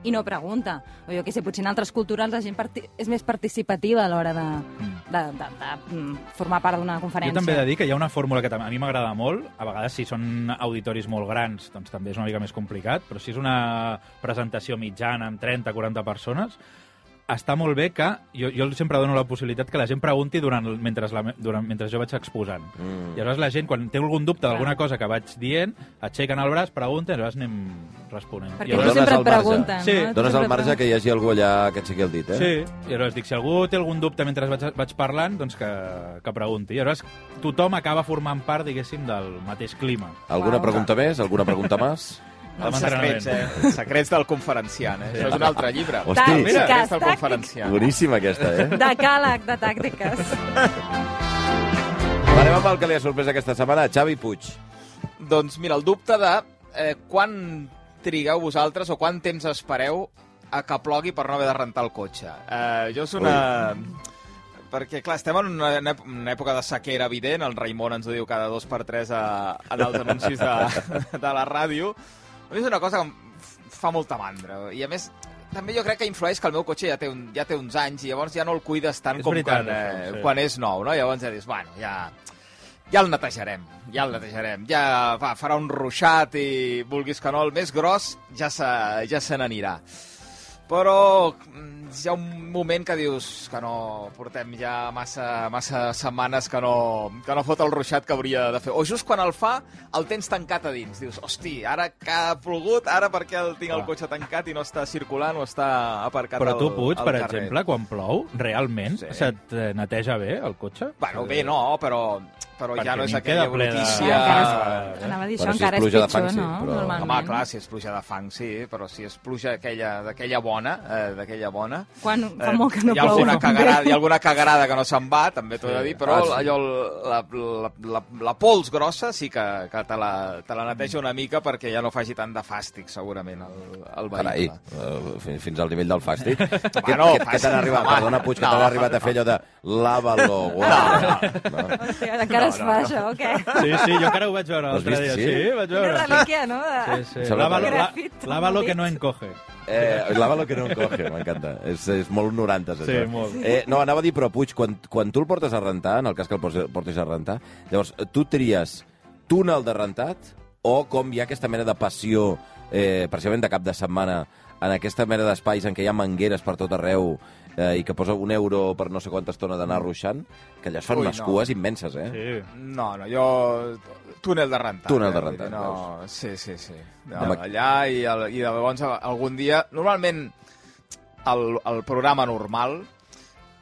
Speaker 4: i no pregunta. O jo què sé, potser en altres cultures la gent parti és més participativa a l'hora de, de, de, de, mm, formar part d'una
Speaker 3: Jo
Speaker 4: conferència.
Speaker 3: també he de dir que hi ha una fórmula que tam- a mi m'agrada molt. A vegades, si són auditoris molt grans, doncs també és una mica més complicat, però si és una presentació mitjana amb 30-40 persones, està molt bé que... Jo, jo sempre dono la possibilitat que la gent pregunti durant, el- mentre, la, me- durant, mentre jo vaig exposant. Mm. I aleshores la gent, quan té algun dubte d'alguna cosa que vaig dient, aixequen el braç, pregunten i aleshores anem responent. I
Speaker 2: Però
Speaker 4: Perquè no
Speaker 3: aleshores-
Speaker 2: dones
Speaker 4: sempre
Speaker 2: el
Speaker 4: et
Speaker 2: marge.
Speaker 4: pregunten.
Speaker 3: Sí,
Speaker 4: no?
Speaker 2: Dones el
Speaker 4: Sempre
Speaker 2: marge que hi hagi algú allà que aixequi el dit, eh?
Speaker 3: Sí, i aleshores dic, si algú té algun dubte mentre vaig, vaig parlant, doncs que, que pregunti. I aleshores tothom acaba formant part, diguéssim, del mateix clima.
Speaker 2: Alguna
Speaker 4: Uau.
Speaker 2: pregunta més? Alguna pregunta més?
Speaker 3: de
Speaker 5: Els
Speaker 3: l'entrenament.
Speaker 5: secrets, eh? Secrets del conferenciant, eh? Això és un altre llibre.
Speaker 2: Hosti. Tàctiques,
Speaker 5: Els secrets del
Speaker 4: tàctiques.
Speaker 5: conferenciant.
Speaker 2: Boníssima aquesta, eh?
Speaker 4: De càleg, de tàctiques.
Speaker 2: Va, Anem amb el que li ha sorprès aquesta setmana, Xavi Puig.
Speaker 5: Doncs mira, el dubte de eh, quan trigueu vosaltres o quant temps espereu a que plogui per no haver de rentar el cotxe. Eh, jo és una... Perquè, clar, estem en una, en una època de sequera evident, el Raimon ens ho diu cada dos per tres a, en els anuncis de, de la ràdio. A mi és una cosa que em f- fa molta mandra. I, a més, també jo crec que influeix que el meu cotxe ja té, un, ja té uns anys i llavors ja no el cuides tant
Speaker 3: És
Speaker 5: com
Speaker 3: veritat,
Speaker 5: quan, eh,
Speaker 3: això, sí.
Speaker 5: quan és nou, no? Llavors ja dius, bueno, ja, ja el netejarem, ja el netejarem. Ja va, farà un ruixat i vulguis que no, el més gros ja se, ja se n'anirà. Però mm, hi ha un moment que dius que no portem ja massa, massa setmanes que no, que no fot el ruixat que hauria de fer. O just quan el fa, el tens tancat a dins. Dius, hosti, ara que ha plogut, ara per què el tinc el
Speaker 3: Clar.
Speaker 5: cotxe tancat i no està circulant o està aparcat
Speaker 3: Però tu,
Speaker 5: al,
Speaker 3: Puig,
Speaker 5: al
Speaker 3: per
Speaker 5: carrer?
Speaker 3: exemple, quan plou, realment sí. se't eh, neteja bé el cotxe?
Speaker 5: Bueno, bé, no, però, però
Speaker 3: eh, Perquè
Speaker 5: ja no
Speaker 3: a mi
Speaker 5: és
Speaker 3: em queda
Speaker 5: aquella
Speaker 3: ple de-
Speaker 5: brutícia...
Speaker 3: Ah, encara és-
Speaker 4: Anava a dir
Speaker 2: Bueno,
Speaker 4: això,
Speaker 2: si és
Speaker 4: encara és
Speaker 2: pluja de
Speaker 4: pitjor,
Speaker 2: fang, sí,
Speaker 4: no?
Speaker 2: però-
Speaker 4: Normalment.
Speaker 5: Home, clar, si és pluja de fang, sí, però si és pluja aquella- d'aquella bona, eh, d'aquella bona...
Speaker 4: Quan fa
Speaker 5: eh,
Speaker 4: molt que no
Speaker 5: hi, ha
Speaker 4: plou.
Speaker 5: alguna cagarada, hi ha alguna cagarada que no se'n va, també t'ho he de dir, però
Speaker 2: Ah, sí.
Speaker 5: allò, la, la, la, la pols grossa sí que, que te, la, te la neteja una mica perquè ja no faci tant de fàstic, segurament, el, el
Speaker 2: Carai,
Speaker 5: vehicle.
Speaker 2: eh, fins, fins al nivell del fàstic. Què
Speaker 5: no,
Speaker 2: què- què
Speaker 5: fàstic,
Speaker 2: t'han arribat?
Speaker 5: home.
Speaker 2: Perdona, Puig, que
Speaker 5: No,
Speaker 2: t'han arribat a fer allò de lava-lo, guarda. No.
Speaker 4: Hòstia, encara es fa això, o què?
Speaker 3: Sí, sí, jo encara ho vaig veure
Speaker 2: L'has
Speaker 3: l'altre
Speaker 2: vist,
Speaker 3: dia.
Speaker 2: sí?
Speaker 3: Sí? vaig
Speaker 4: Quina
Speaker 3: veure.
Speaker 4: relíquia, no? De...
Speaker 3: Sí, sí.
Speaker 2: Sembla-
Speaker 3: Lávalo, la,
Speaker 4: Grafit,
Speaker 3: lávalo que
Speaker 4: dit.
Speaker 3: no encoge.
Speaker 2: Eh, lava-lo que no encoge, m'encanta. És, és molt 90,
Speaker 3: Sí, molt.
Speaker 2: Eh, no, anava a dir, però Puig, quan, quan tu el portes a rentar, en el cas que el portes- portis a rentar, llavors eh, tu tries túnel de rentat o com hi ha aquesta mena de passió, eh, precisament de cap de setmana, en aquesta mena d'espais en què hi ha mangueres per tot arreu eh, i que posa un euro per no sé quanta estona d'anar ruixant, que allà es fan
Speaker 5: Ui,
Speaker 2: unes
Speaker 5: no.
Speaker 2: cues immenses, eh?
Speaker 3: Sí.
Speaker 5: No, no, jo... Túnel de rentat.
Speaker 2: Túnel de
Speaker 5: eh, vull
Speaker 2: rentat,
Speaker 5: dir, No, sí, sí, sí. No,
Speaker 2: Amb-
Speaker 5: Allà i, el, i de llavors algun dia... Normalment el, el programa normal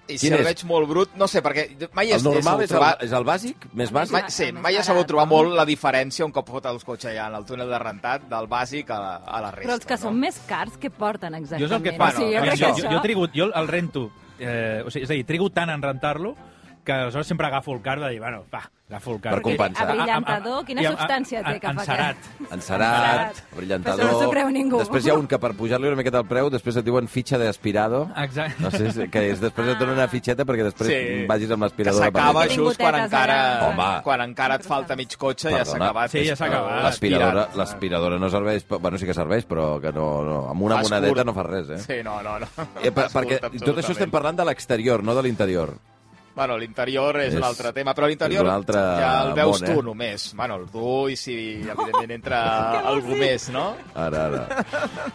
Speaker 5: i si
Speaker 2: Quin
Speaker 5: el
Speaker 2: és?
Speaker 5: veig molt brut, no sé, perquè mai he,
Speaker 2: El normal
Speaker 5: he sabut
Speaker 2: és el,
Speaker 5: trobar...
Speaker 2: és el bàsic? Més bàsic?
Speaker 5: Mai, sí, mai he sabut trobar molt la diferència un cop fot el cotxe allà en el túnel de rentat del bàsic a la, a la resta.
Speaker 4: Però els que
Speaker 5: no?
Speaker 4: són més cars, què porten exactament?
Speaker 3: Jo és el que et
Speaker 5: fa,
Speaker 3: passa.
Speaker 4: O sigui, jo, crec
Speaker 3: jo,
Speaker 4: que
Speaker 3: jo,
Speaker 4: això...
Speaker 3: jo, trigo, jo el rento, eh, o sigui, és a dir, trigo tant en rentar-lo que aleshores sempre agafo el car de dir, bueno, va, agafo el car.
Speaker 2: Per compensar.
Speaker 4: Abrillantador, quina
Speaker 3: I
Speaker 4: substància té que fa
Speaker 3: encerat.
Speaker 2: Encerat,
Speaker 4: Encerat.
Speaker 2: brillantador...
Speaker 4: Però això no s'ho creu ningú.
Speaker 2: Després hi ha un que per pujar-li una miqueta el preu, després et diuen fitxa d'aspirado.
Speaker 3: Exacte.
Speaker 2: No sé, si- que és, després et donen una fitxeta perquè després
Speaker 5: Sí.
Speaker 2: vagis amb
Speaker 5: que
Speaker 2: l'aspiradora. per
Speaker 5: s'acaba
Speaker 2: dintre.
Speaker 5: just quan
Speaker 4: Tingutetes, eh?
Speaker 5: encara,
Speaker 4: ara.
Speaker 2: Home.
Speaker 5: quan encara et falta mig cotxe, ja s'ha
Speaker 2: Perdona,
Speaker 5: acabat.
Speaker 3: Sí, ja s'ha acabat.
Speaker 2: L'aspiradora
Speaker 5: Aspirat.
Speaker 2: l'aspiradora no serveix, però- bueno, sí que serveix, però que no, no amb una
Speaker 5: Fas
Speaker 2: monedeta
Speaker 5: curt.
Speaker 2: no fa res, eh?
Speaker 5: Sí, no, no, no.
Speaker 2: Eh, per, perquè tot això estem parlant de l'exterior, no de l'interior.
Speaker 5: Bueno, l'interior és,
Speaker 2: És-
Speaker 5: és un altre tema, però
Speaker 2: és
Speaker 5: l'interior
Speaker 2: un altre
Speaker 5: ja el veus
Speaker 2: món, eh?
Speaker 5: tu només. Bueno, el tu i si, evidentment, entra algú més, no?
Speaker 2: Ara, ara.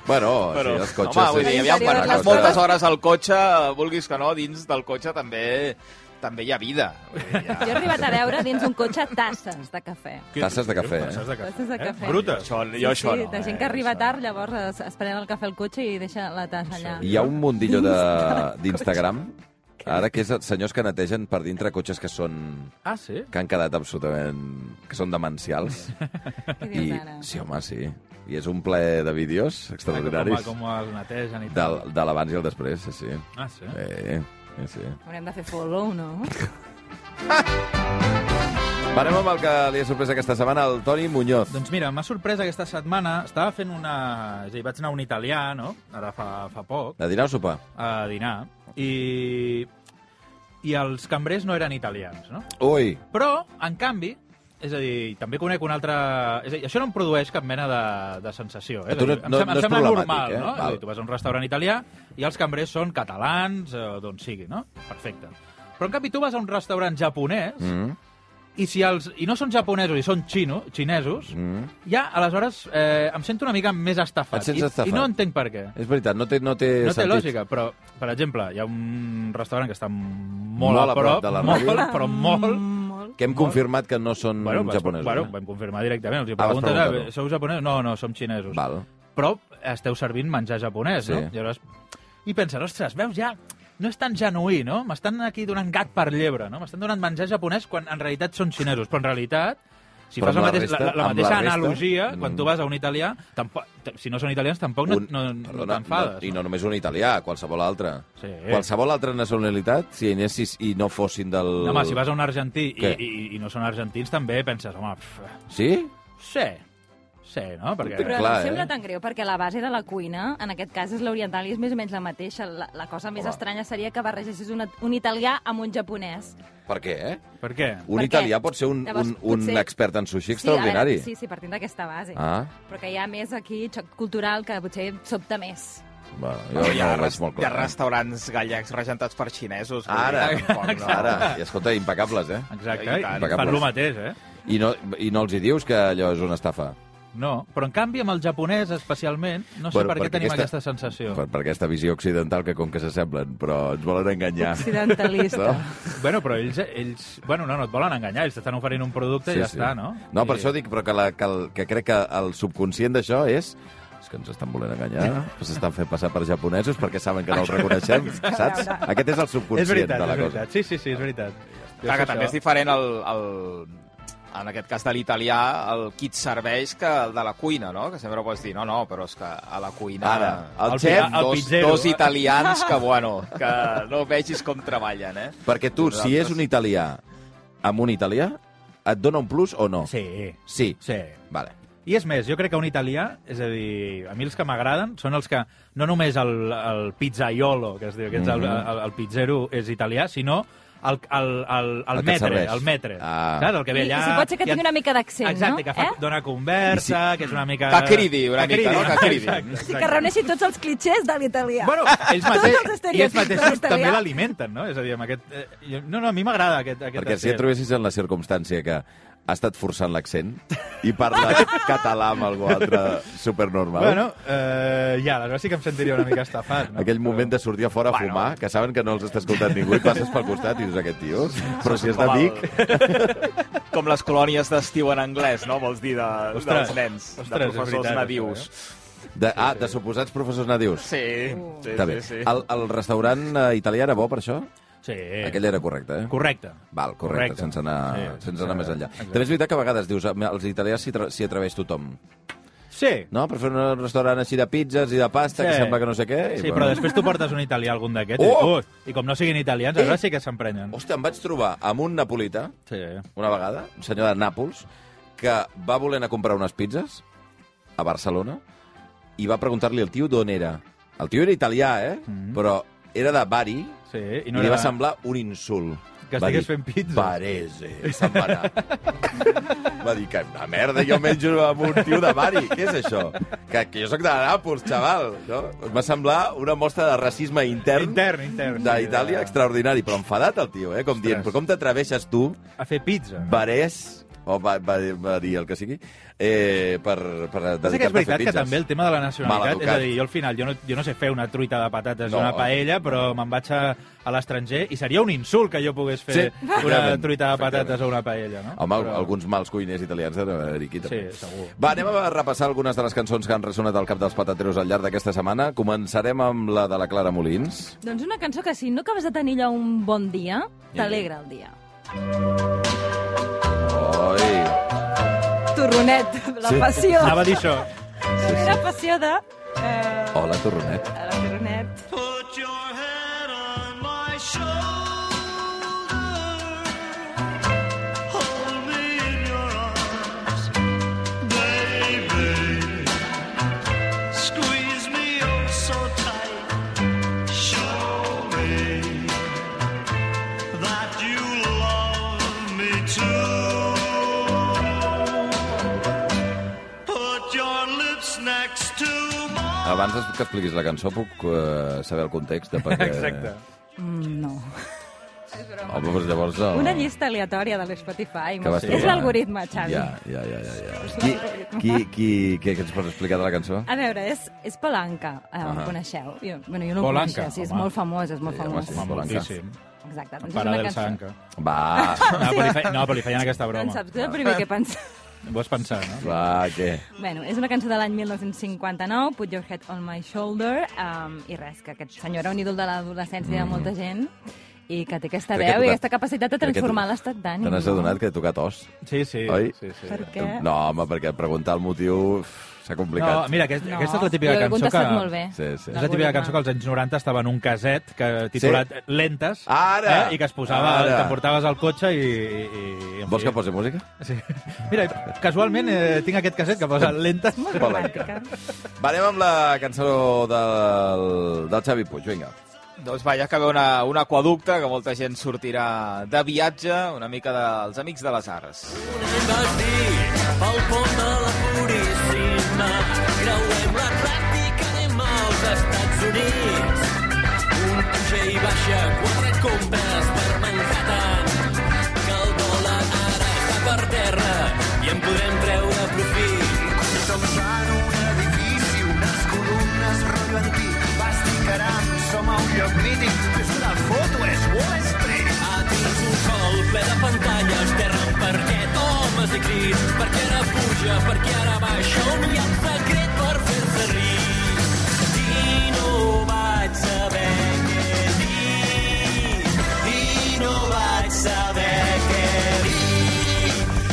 Speaker 2: Bueno,
Speaker 5: Però,
Speaker 2: sí, els cotxes...
Speaker 5: home, vull
Speaker 2: és-
Speaker 5: dir, aviam, quan
Speaker 4: L'interior
Speaker 5: estàs
Speaker 4: és la
Speaker 5: moltes
Speaker 4: cosa.
Speaker 5: hores al cotxe, vulguis que no, dins del cotxe també també hi ha vida. Vull dir, ja-
Speaker 4: Jo he arribat a veure dins un cotxe tasses de cafè.
Speaker 2: Tasses de cafè, eh?
Speaker 3: Tasses de cafè.
Speaker 4: Tasses de cafè.
Speaker 3: Brutes.
Speaker 5: Això, jo això
Speaker 4: sí,
Speaker 5: no.
Speaker 4: de gent
Speaker 5: eh,
Speaker 4: que arriba
Speaker 5: això no.
Speaker 4: tard, llavors es, es pren el cafè al cotxe i deixa la tassa allà.
Speaker 2: Hi ha un mundillo de- d'Instagram, ara, que és els senyors que netegen per dintre cotxes que són
Speaker 3: Ah, sí?
Speaker 2: que han quedat absolutament... que són demencials.
Speaker 4: Què
Speaker 2: I,
Speaker 4: dius ara?
Speaker 2: sí, home, sí. I és un ple de vídeos
Speaker 3: Com,
Speaker 2: extraordinaris
Speaker 3: com els netegen i
Speaker 2: del,
Speaker 3: tal.
Speaker 2: de l'abans i el després, sí, sí.
Speaker 3: Ah, sí?
Speaker 2: Eh, eh, sí.
Speaker 4: Haurem de fer follow, no?
Speaker 2: Parem amb el que li ha sorprès aquesta setmana, el Toni Muñoz.
Speaker 3: Doncs mira, m'ha sorprès aquesta setmana, estava fent una... És a dir, vaig anar a un italià, no?, ara fa, fa poc,
Speaker 2: De dinar o sopar?
Speaker 3: a dinar, i... i els cambrers no eren italians, no?
Speaker 2: Ui,
Speaker 3: Però, en canvi, és a dir, també conec un altre... És a dir, això no em produeix cap mena de, de sensació. Eh?
Speaker 2: A tu no-
Speaker 3: És a dir, em
Speaker 2: no-
Speaker 3: sem-
Speaker 2: no
Speaker 3: em
Speaker 2: és
Speaker 3: sembla
Speaker 2: problemàtic,
Speaker 3: normal,
Speaker 2: eh?
Speaker 3: no? És a
Speaker 2: Val.
Speaker 3: dir, tu vas a un restaurant italià i els cambrers són catalans, eh, d'on sigui, no? Perfecte. Però, en canvi, tu vas a un restaurant japonès
Speaker 2: Mm.
Speaker 3: i si els, i no són japonesos i són xino, xinesos,
Speaker 2: mm.
Speaker 3: ja aleshores eh, em sento una mica més
Speaker 2: Et
Speaker 3: estafat.
Speaker 2: sents
Speaker 3: I,
Speaker 2: estafat.
Speaker 3: I no entenc per què.
Speaker 2: és veritat, no té, no té
Speaker 3: No té
Speaker 2: sentit.
Speaker 3: lògica, però, per exemple, hi ha un restaurant que està molt,
Speaker 2: Molt a prop de la
Speaker 3: molt,
Speaker 2: ràdio.
Speaker 3: però molt,
Speaker 2: Que hem confirmat que no són
Speaker 3: vas-
Speaker 2: japonesos.
Speaker 3: Bueno,
Speaker 2: eh?
Speaker 3: vam confirmar directament. Els hi
Speaker 2: vas
Speaker 3: preguntes,
Speaker 2: preguntar-ho.
Speaker 3: ah, sou japonesos? No, no, som xinesos.
Speaker 2: Val.
Speaker 3: Però esteu servint menjar japonès,
Speaker 2: Sí.
Speaker 3: no? I, aleshores... I penses, ostres, veus, ja no és tan genuí, no? M'estan aquí donant gat per llebre, no? M'estan donant menjar japonès quan en realitat són xinesos. Però en realitat, si
Speaker 2: Però
Speaker 3: fas
Speaker 2: amb la
Speaker 3: la, mateix,
Speaker 2: resta-
Speaker 3: la, la,
Speaker 2: amb la
Speaker 3: mateixa
Speaker 2: resta-
Speaker 3: analogia,
Speaker 2: Mm.
Speaker 3: quan tu vas a un italià, tampoc, t- si no són italians, tampoc no, no, no
Speaker 2: perdona,
Speaker 3: t'enfades.
Speaker 2: no, I no només un italià, qualsevol altre.
Speaker 3: Sí.
Speaker 2: Qualsevol altra nacionalitat, si anessis i no fossin del...
Speaker 3: No, Home, si vas a un argentí i,
Speaker 2: Què?
Speaker 3: i, i no són argentins, també penses, home, pf,
Speaker 2: Sí?
Speaker 3: sí, sí, no? Perquè...
Speaker 4: Però
Speaker 2: Clar,
Speaker 4: em sembla
Speaker 2: eh?
Speaker 4: tan greu, perquè la base de la cuina, en aquest cas, és l'oriental i és més o menys la mateixa. La, la cosa més
Speaker 2: Home.
Speaker 4: estranya seria que barregessis una, un italià amb un japonès.
Speaker 2: Per què, eh?
Speaker 3: Per què?
Speaker 2: Un
Speaker 4: Per què?
Speaker 2: italià pot ser un,
Speaker 4: Llavors,
Speaker 2: un, un
Speaker 4: potser-
Speaker 2: expert en sushi
Speaker 4: Sí, a
Speaker 2: extraordinari.
Speaker 4: veure, sí, sí, partint d'aquesta base.
Speaker 2: Ah,
Speaker 4: Però que hi ha més aquí, xoc cultural, que potser sobta més.
Speaker 2: va, jo
Speaker 5: Però hi ha,
Speaker 2: no ho veig
Speaker 5: res-
Speaker 2: molt
Speaker 5: hi ha
Speaker 2: clar. eh?
Speaker 5: restaurants gallecs regentats per xinesos. vull dir,
Speaker 2: Ara,
Speaker 5: tampoc no.
Speaker 2: ara, i escolta, impecables, eh?
Speaker 3: Exacte,
Speaker 5: I
Speaker 3: i
Speaker 5: tant.
Speaker 3: fan el mateix, eh?
Speaker 2: I no, I no els hi dius que allò és una estafa?
Speaker 3: No, però en canvi amb el japonès especialment, no sé
Speaker 2: Bueno,
Speaker 3: per què
Speaker 2: perquè
Speaker 3: tenim
Speaker 2: aquesta-
Speaker 3: aquesta, sensació.
Speaker 2: Per, per aquesta visió occidental que com que s'assemblen, però ens volen enganyar.
Speaker 4: Occidentalista.
Speaker 2: Ah. No?
Speaker 3: Bueno, però ells, ells... Bueno, no, no et volen enganyar, ells t'estan oferint un producte i ja està, no?
Speaker 2: No, per
Speaker 3: I-
Speaker 2: això dic, però que, la, que, el, que crec que el subconscient d'això és és que ens estan volent enganyar, que s'estan fent passar per japonesos perquè saben que no els reconeixem, saps? Aquest és el subconscient
Speaker 3: És veritat,
Speaker 2: de la
Speaker 3: és
Speaker 2: cosa.
Speaker 3: veritat. Sí, sí, sí, és veritat. Jo
Speaker 5: Clar,
Speaker 3: sé
Speaker 5: que també és
Speaker 3: això.
Speaker 5: diferent el, el, en aquest cas de l'italià, el kit serveix que el de la cuina, no? Que sempre pots dir, no, no, però és que a la cuina...
Speaker 2: Ara, el,
Speaker 3: Ah, El
Speaker 2: xef,
Speaker 3: pi- el
Speaker 5: dos,
Speaker 3: pizzero.
Speaker 5: dos italians que, bueno, que no vegis com treballen, eh?
Speaker 2: perquè tu, si és un italià amb un italià, et dona un plus o no?
Speaker 3: Sí,
Speaker 2: Sí.
Speaker 3: sí.
Speaker 2: Vale.
Speaker 3: I és més, jo crec que un italià, és a dir, a mi els que m'agraden són els que, no només el, el pizzaiolo, que es diu, que és el,
Speaker 2: Mhm.
Speaker 3: el, el pizzero és italià, sinó el, el, el, el,
Speaker 2: El que et
Speaker 3: metre,
Speaker 2: serveix.
Speaker 3: el metre.
Speaker 2: Ah.
Speaker 3: Saps? El que ve
Speaker 4: I- i
Speaker 3: allà...
Speaker 4: si pot ser que
Speaker 3: i et-
Speaker 4: tingui una mica d'accent,
Speaker 3: Exacte,
Speaker 4: no?
Speaker 3: que fa,
Speaker 4: Eh?
Speaker 3: dona conversa, que és una mica...
Speaker 5: Que cridi una mica, no? Que cridi.
Speaker 3: Exacte,
Speaker 4: Sí,
Speaker 3: exacte.
Speaker 4: que reuneixi tots els clitxers de l'italià.
Speaker 3: Bueno, ells,
Speaker 4: Tots
Speaker 3: mateixos-
Speaker 4: els
Speaker 3: i ells
Speaker 4: estereotips de
Speaker 3: mateixos
Speaker 4: l'italià.
Speaker 3: també l'alimenten, no? És a dir, amb aquest... Eh, jo- no, no, a mi m'agrada aquest, aquest
Speaker 2: Perquè si et
Speaker 3: accent.
Speaker 2: trobessis en la circumstància que ha estat forçant l'accent i parla català amb algú altre supernormal,
Speaker 3: Bueno, eh, ja, aleshores sí que em sentiria una mica estafat. No?
Speaker 2: Aquell moment de sortir a fora a
Speaker 5: Bueno.
Speaker 2: fumar, que saben que no els està escoltant ningú i passes pel costat i dius aquest tio, però si és
Speaker 5: Com el-
Speaker 2: d'amic...
Speaker 5: Com les colònies d'estiu en anglès, no? Vols dir de,
Speaker 3: Ostres,
Speaker 5: dels nens,
Speaker 3: ostres,
Speaker 5: de
Speaker 3: és
Speaker 5: professors
Speaker 3: veritat,
Speaker 5: nadius.
Speaker 3: això, eh?
Speaker 2: De, ah, de suposats professors nadius.
Speaker 5: Sí, sí,
Speaker 2: Està bé. Ah.
Speaker 5: sí, sí.
Speaker 2: El, el restaurant eh, italià era bo per això?
Speaker 3: Sí.
Speaker 2: Aquell era correcte, eh?
Speaker 3: Correcte.
Speaker 2: Val, correcte,
Speaker 3: Correcte.
Speaker 2: sense anar,
Speaker 3: Sí,
Speaker 2: sense anar
Speaker 3: sí,
Speaker 2: més enllà.
Speaker 3: exacte.
Speaker 2: També és veritat que a vegades dius, als italians s'hi tra- s'hi atreveix tothom.
Speaker 3: Sí.
Speaker 2: No? Per fer un restaurant així de pizzas i de pasta, que sembla que no sé què... i
Speaker 3: Sí,
Speaker 2: bueno.
Speaker 3: però després tu portes un italià algun
Speaker 2: Oh!
Speaker 3: d'aquests
Speaker 2: Eh!
Speaker 3: i, dius, "Ui", i com no siguin italians, ara sí que s'emprenyen.
Speaker 2: Hòstia, em vaig trobar amb un napolità,
Speaker 3: Sí.
Speaker 2: una vegada, un senyor de Nàpols, que va voler anar a comprar unes pizzas a Barcelona i va preguntar-li al tio d'on era. El tio era italià, eh? Mm. Però era de Bari,
Speaker 3: Sí,
Speaker 2: I, no li
Speaker 3: Mhm. era-
Speaker 2: va semblar un insult.
Speaker 3: Que
Speaker 2: Va dir,
Speaker 3: estigués fent pizza.
Speaker 2: Barese, se'n va anar. va dir que una merda, jo menjo amb un tio de Bari. Què és això? Que, que jo sóc de Nàpols, xaval. No? Em va semblar una mostra de racisme intern,
Speaker 3: Intern, intern. sí,
Speaker 2: d'Itàlia
Speaker 3: de-
Speaker 2: extraordinari. Però enfadat el tio, eh? Com dient, però com t'atreveixes tu,
Speaker 3: A fer pizza.
Speaker 2: Barés, o va, va, va dir el que sigui, eh, per, per
Speaker 3: Passa que és
Speaker 2: dedicar-te a fer
Speaker 3: veritat que
Speaker 2: pizzas.
Speaker 3: també el tema de la nacionalitat, és a
Speaker 2: Maleducat.
Speaker 3: dir, jo al final, jo no, jo no sé fer una truita de patates
Speaker 2: No. eh.
Speaker 3: no. i una paella, però me'n vaig a, a l'estranger i seria un insult que jo pogués fer
Speaker 2: Sí,
Speaker 3: una
Speaker 2: efectivament,
Speaker 3: truita de
Speaker 2: efectivament.
Speaker 3: patates o una paella, no?
Speaker 2: Home, però... alguns mals cuiners italians de haver-hi aquí, també.
Speaker 3: Sí, segur.
Speaker 2: Va, anem a repassar algunes de les cançons que han ressonat al cap dels patateros al llarg d'aquesta setmana. Començarem amb la de la Clara Molins.
Speaker 4: Doncs una cançó que si no acabes de tenir allò un bon dia, t'alegra el dia.
Speaker 2: Oi!
Speaker 4: Torronet, la
Speaker 2: Sí.
Speaker 4: passió.
Speaker 3: Anava a dir això.
Speaker 4: La passió de... Eh,
Speaker 2: Hola, Torronet.
Speaker 4: de la Torronet.
Speaker 6: Next to mine.
Speaker 2: Abans que expliquis la cançó puc eh, saber el context de per què...
Speaker 3: Exacte.
Speaker 2: Eh,
Speaker 4: Mm, no.
Speaker 2: Home, doncs llavors... El...
Speaker 4: Una llista aleatòria de l'Spotify.
Speaker 2: que vas
Speaker 4: molt bé.
Speaker 2: trobar.
Speaker 4: És l'algoritme, Xavi.
Speaker 2: Ja, ja, ja. ja, ja. Qui, qui, qui, què, què ens pots explicar de la cançó?
Speaker 4: A veure, és, és Polanca, eh,
Speaker 2: Ahà.
Speaker 4: el coneixeu? Jo, bueno, jo no
Speaker 3: Polanca,
Speaker 4: el coneixia, sí, és
Speaker 3: home.
Speaker 4: molt famós, és molt
Speaker 2: Sí, home,
Speaker 4: famós.
Speaker 2: sí,
Speaker 3: Home,
Speaker 2: Polanca.
Speaker 3: moltíssim.
Speaker 4: Exacte, doncs és
Speaker 3: Pare
Speaker 4: una
Speaker 3: del
Speaker 4: cançó.
Speaker 3: Sanca.
Speaker 2: Va,
Speaker 3: No, però li, fe... no, però li feien aquesta
Speaker 4: Doncs
Speaker 3: broma.
Speaker 4: saps tu el primer que pensava?
Speaker 3: Ho vas pensar, no?
Speaker 2: va, què?
Speaker 4: Bueno, és una cançó de l'any 1959, Put Your Head on My Shoulder, um, i res, que aquest senyor era un ídol de l'adolescència de molta gent, i que té aquesta
Speaker 2: Mm. Crec que
Speaker 4: veu i
Speaker 2: toca-
Speaker 4: aquesta capacitat de
Speaker 2: crec que
Speaker 4: transformar
Speaker 2: to-
Speaker 4: l'estat d'ànim.
Speaker 2: Te n'has adonat que he tocat os?
Speaker 3: Sí, sí.
Speaker 2: Oi?
Speaker 3: sí, sí.
Speaker 4: Per què?
Speaker 2: No, home, perquè preguntar el motiu uf, s'ha
Speaker 3: No,
Speaker 2: complicat.
Speaker 3: mira, aquest,
Speaker 4: No,
Speaker 3: aquesta és la típica
Speaker 4: jo he
Speaker 3: cançó que...
Speaker 4: contestat molt bé.
Speaker 2: Sí, sí.
Speaker 3: És la típica cançó que als anys 90 estava en un caset que titulat sí. Lentes
Speaker 2: Ara!
Speaker 3: eh, i que es posava,
Speaker 2: Ara!
Speaker 3: te'n portaves al cotxe i... i, i en
Speaker 2: Vols
Speaker 3: fi.
Speaker 2: que posi música?
Speaker 3: Sí. Mira, casualment eh, tinc aquest caset que posa Lentes.
Speaker 4: Molt
Speaker 2: Polanca.
Speaker 4: romàntica.
Speaker 2: Va, anem amb la cançó del, del Xavi Puig, vinga.
Speaker 5: Doncs va, ja que ve una, un aquaducte, que molta gent sortirà de viatge, una mica dels Amics de les Arts.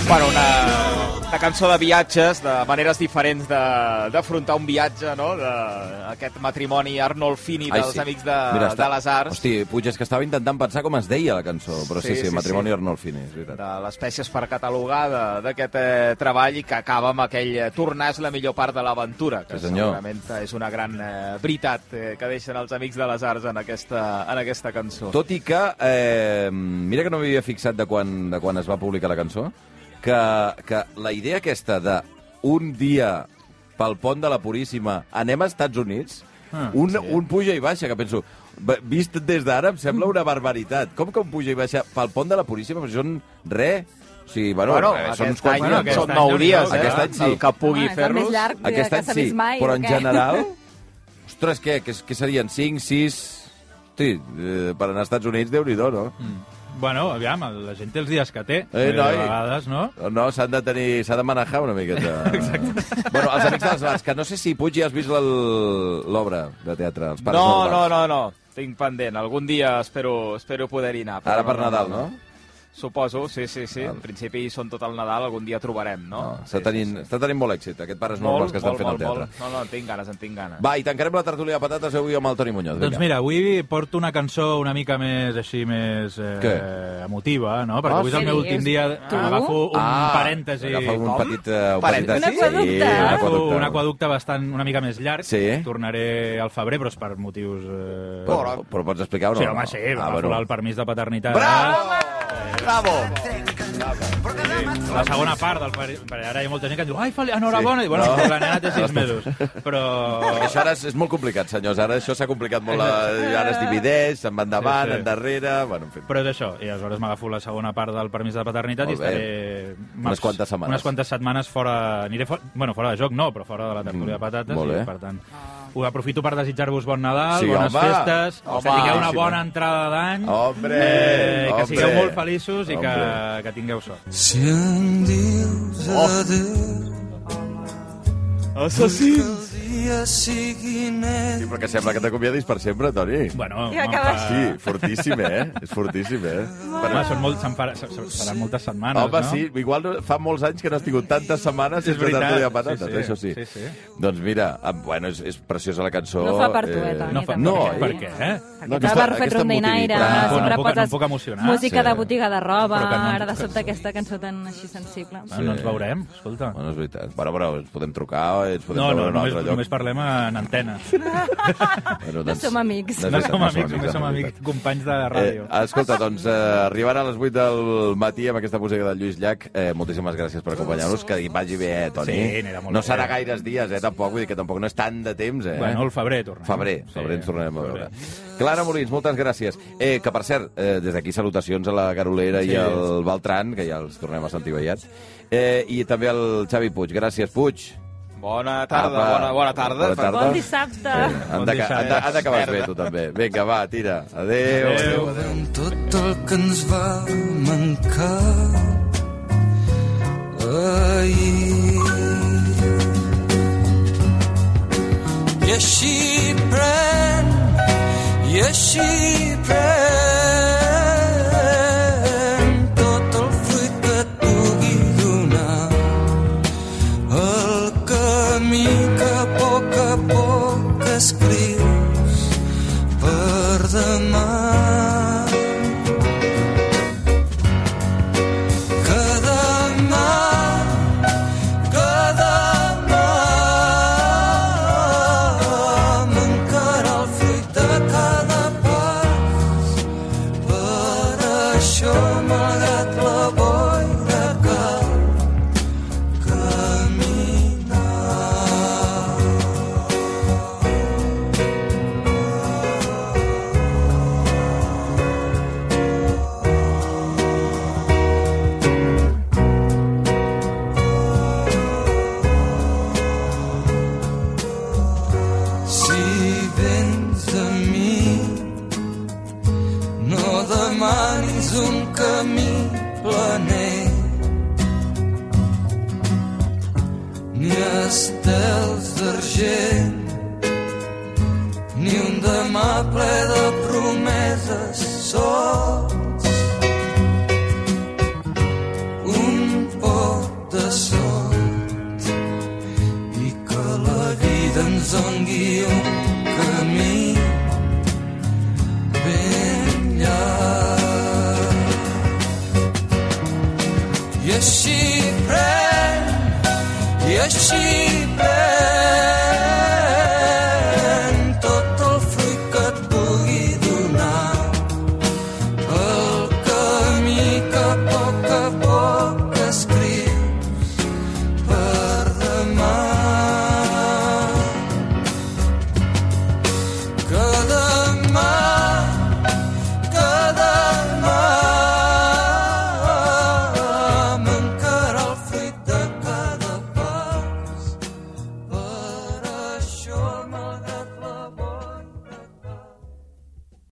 Speaker 5: Bueno, una, una cançó de viatges, de maneres diferents de- d'afrontar un viatge, no?, d'aquest matrimoni Arnolfini dels Amics de,
Speaker 2: Mira,
Speaker 5: de les Arts.
Speaker 2: Hosti, Puig, és que estava intentant pensar com es deia la cançó, però sí,
Speaker 5: Sí,
Speaker 2: sí, sí,
Speaker 5: sí,
Speaker 2: Matrimoni
Speaker 5: sí.
Speaker 2: Arnolfini, és veritat.
Speaker 5: de les peces per catalogar de- d'aquest eh, treball i que acaba amb aquell eh, tornar és la millor part de l'aventura, que
Speaker 2: Sí, senyor.
Speaker 5: segurament és una gran eh, veritat eh, que deixen els amics de les arts en aquesta, en aquesta cançó.
Speaker 2: Tot i que, eh, mira que no m'havia fixat de quan, de quan es va publicar la cançó, que, que la idea aquesta de un dia pel pont de la Puríssima anem als Estats Units, ah, un, sí. un puja i baixa, que penso, va- vist des d'ara em sembla una barbaritat. Com que un puja i baixa pel pont de la Puríssima? Però són res. O sigui, bueno, bueno eh, són
Speaker 5: aquest
Speaker 2: uns quants
Speaker 5: any,
Speaker 2: dies.
Speaker 3: bueno,
Speaker 5: aquest
Speaker 2: Són
Speaker 5: són
Speaker 3: nou
Speaker 5: nou dies, eh?
Speaker 2: Aquest any sí.
Speaker 5: El que
Speaker 4: Home,
Speaker 5: pugui
Speaker 4: és el més
Speaker 5: fer-los.
Speaker 4: llarg de-
Speaker 2: Aquest
Speaker 4: que
Speaker 2: any
Speaker 4: s'ha
Speaker 2: sí,
Speaker 4: vist mai.
Speaker 2: però
Speaker 4: o
Speaker 2: en
Speaker 4: què?
Speaker 2: general... Ostres, què? Què, què serien? 5, 6... Sí, eh, per anar als Estats Units, déu nhi no? Mm.
Speaker 3: Bueno, aviam, la gent té els dies que té.
Speaker 2: Eh,
Speaker 3: de
Speaker 2: noi.
Speaker 3: vegades, no?
Speaker 2: No, s'han de tenir... S'ha de manejar una miqueta. Exacte. Bueno, els Amics de les Bats, que no sé si Puig ja has vist l'el- l'obra de teatre. Els pares
Speaker 5: No, no,
Speaker 2: Normals.
Speaker 5: no, no. Tinc pendent. Algun dia espero, espero poder-hi anar. però
Speaker 2: Ara
Speaker 5: no,
Speaker 2: per
Speaker 5: no,
Speaker 2: Nadal,
Speaker 5: no?
Speaker 2: no?
Speaker 5: Suposo, sí, sí, sí. En principi són tot el Nadal, algun dia trobarem, no?
Speaker 2: no està,
Speaker 5: Sí,
Speaker 2: tenint,
Speaker 5: sí, sí.
Speaker 2: està tenint molt èxit, aquests pares normals que estan fent al teatre.
Speaker 5: Molt. No, no, en tinc ganes, en tinc ganes.
Speaker 2: Va, i tancarem la tertúlia de patates avui amb el Toni Muñoz.
Speaker 3: Doncs mira, avui porto una cançó una mica més així, més eh,
Speaker 2: Què?
Speaker 3: emotiva, no? Perquè
Speaker 2: Ah,
Speaker 3: avui és el
Speaker 4: sí?
Speaker 3: meu últim dia,
Speaker 4: Tu?
Speaker 3: agafo un parèntesi.
Speaker 2: Agafa Ah, un
Speaker 5: Com?
Speaker 2: petit... eh, un
Speaker 5: Parèntesi?
Speaker 2: petit-
Speaker 4: Un aquaducte.
Speaker 2: Sí, un
Speaker 3: Agafo
Speaker 2: aquaducte.
Speaker 3: un aquaducte bastant, una mica més llarg.
Speaker 2: Sí.
Speaker 3: Tornaré al febrer, però és per motius... Eh...
Speaker 2: Però, però pots explicar o no?
Speaker 3: Sí, home, sí,
Speaker 2: Ah,
Speaker 3: va
Speaker 2: bueno.
Speaker 3: el permís de paternitat. Eh,
Speaker 2: Bravo!
Speaker 5: Bravo!
Speaker 3: La segona part del pare... perquè Ara hi ha molta gent que em diu ai, fa enhorabona, i bueno,
Speaker 2: No.
Speaker 3: la nena té sis mesos. Però...
Speaker 2: Això ara és, és molt complicat, senyors. Ara això s'ha complicat molt. La... Ara es divideix, se'n va endavant,
Speaker 3: Sí, sí.
Speaker 2: endarrere... Bueno, en fi.
Speaker 3: Però és això, i aleshores m'agafo la segona part del permís de paternitat i
Speaker 2: Molt bé.
Speaker 3: estaré...
Speaker 2: Unes quantes setmanes.
Speaker 3: Unes quantes setmanes fora... Aniré fora... Bueno, fora de joc no, però fora de la tertúlia
Speaker 2: Mm,
Speaker 3: de patates.
Speaker 2: molt bé.
Speaker 3: I, per tant, ho aprofito per desitjar-vos bon Nadal,
Speaker 2: Sí,
Speaker 3: bones
Speaker 2: home.
Speaker 3: festes,
Speaker 2: Home,
Speaker 3: que tingueu una
Speaker 2: sí,
Speaker 3: bona
Speaker 2: home.
Speaker 3: entrada d'any,
Speaker 2: Hombre,
Speaker 3: eh, que
Speaker 2: hombre.
Speaker 3: sigueu molt feliços i que,
Speaker 2: Hombre.
Speaker 3: que tingueu sort.
Speaker 7: Si em dius oh. adéu,
Speaker 5: Assassins!
Speaker 7: el dia sigui net.
Speaker 2: Sí, però que sembla que t'acomiadis per sempre, Toni.
Speaker 3: Bueno,
Speaker 4: I va
Speaker 3: me'n
Speaker 4: acabar
Speaker 2: Sí, fortíssim, eh? És fortíssim, eh? Per...
Speaker 3: Home, són molt, se'n farà, se- se- seran moltes setmanes,
Speaker 2: Home,
Speaker 3: no?
Speaker 2: sí, igual no- fa molts anys que no has tingut tantes setmanes
Speaker 3: És
Speaker 2: sense tertúlia de
Speaker 3: veritat,
Speaker 2: patates,
Speaker 3: sí, sí.
Speaker 2: això sí.
Speaker 3: Sí, sí.
Speaker 2: Doncs mira, ah, bueno, és, és preciosa la cançó.
Speaker 4: No fa per tu, eh, Toni,
Speaker 3: No, fa,
Speaker 4: tampoc.
Speaker 2: No,
Speaker 3: no,
Speaker 2: eh?
Speaker 3: per què? Ah, Eh?
Speaker 4: Perquè
Speaker 2: aquesta-
Speaker 4: t'ha barrufet
Speaker 2: aquesta Ah, em motivi,
Speaker 4: rondinaire,
Speaker 2: clar.
Speaker 3: No
Speaker 4: sempre
Speaker 3: puc- no
Speaker 4: poses
Speaker 3: puc emocionar.
Speaker 4: música
Speaker 2: Sí.
Speaker 4: de botiga de roba,
Speaker 3: Però que no-
Speaker 4: ara de sobte aquesta cançó tan així sensible.
Speaker 2: Ah.
Speaker 3: Bueno, no ens veurem, escolta.
Speaker 2: Bueno, és veritat. Bueno, però ens podem trucar, ens podem
Speaker 3: No, no,
Speaker 2: veure en un
Speaker 3: només,
Speaker 2: altre lloc.
Speaker 3: només parlem en antena.
Speaker 2: Bueno,
Speaker 4: No som amics.
Speaker 2: doncs, és
Speaker 3: No
Speaker 2: veritat,
Speaker 3: som amics,
Speaker 2: és
Speaker 3: només som
Speaker 2: veritat.
Speaker 3: amics, companys de ràdio.
Speaker 2: Eh, escolta, doncs, eh, arribant a les 8 del matí amb aquesta música del Lluís Llach, eh, moltíssimes gràcies per acompanyar-nos, que hi vagi bé, eh, Toni?
Speaker 3: Sí, anirà molt
Speaker 2: no
Speaker 3: bé.
Speaker 2: serà gaires dies, eh, tampoc, vull dir que tampoc no és tant de temps, eh?
Speaker 3: Bueno, el febrer tornem.
Speaker 2: Febrer,
Speaker 3: Sí,
Speaker 2: febrer ens tornarem a
Speaker 3: febrer.
Speaker 2: veure. Clara Molins, moltes gràcies. Eh, que, per cert, eh, des d'aquí salutacions a la Garolera sí.
Speaker 3: Sí.
Speaker 2: i al Beltran, que ja els tornem a sentir ballats, eh, i també al Xavi Puig. Gràcies, Puig.
Speaker 5: Bona tarda,
Speaker 2: Apa.
Speaker 5: bona, bona tarda.
Speaker 2: Bona tarda.
Speaker 4: Bon dissabte!
Speaker 2: Eh, han de, ca- han de, han de acabar bé, tu també. Vinga, va, tira. Adéu. Adéu.
Speaker 7: Sabem tot el que ens va mancar ahir. I així pren, i així pren tot el fruit que et pugui donar. El camí que a poc a poc escrius per demà. Que demà, que demà mancarà el fruit de cada pas. Per això, malgrat la boira, cal caminar. Si vens a mi, no demanis un camí planer. Ni estels d'argent, ni un demà ple de promeses sols. Un poc de sol i que la vida ens doni un camí ben llarg. I així pren, i així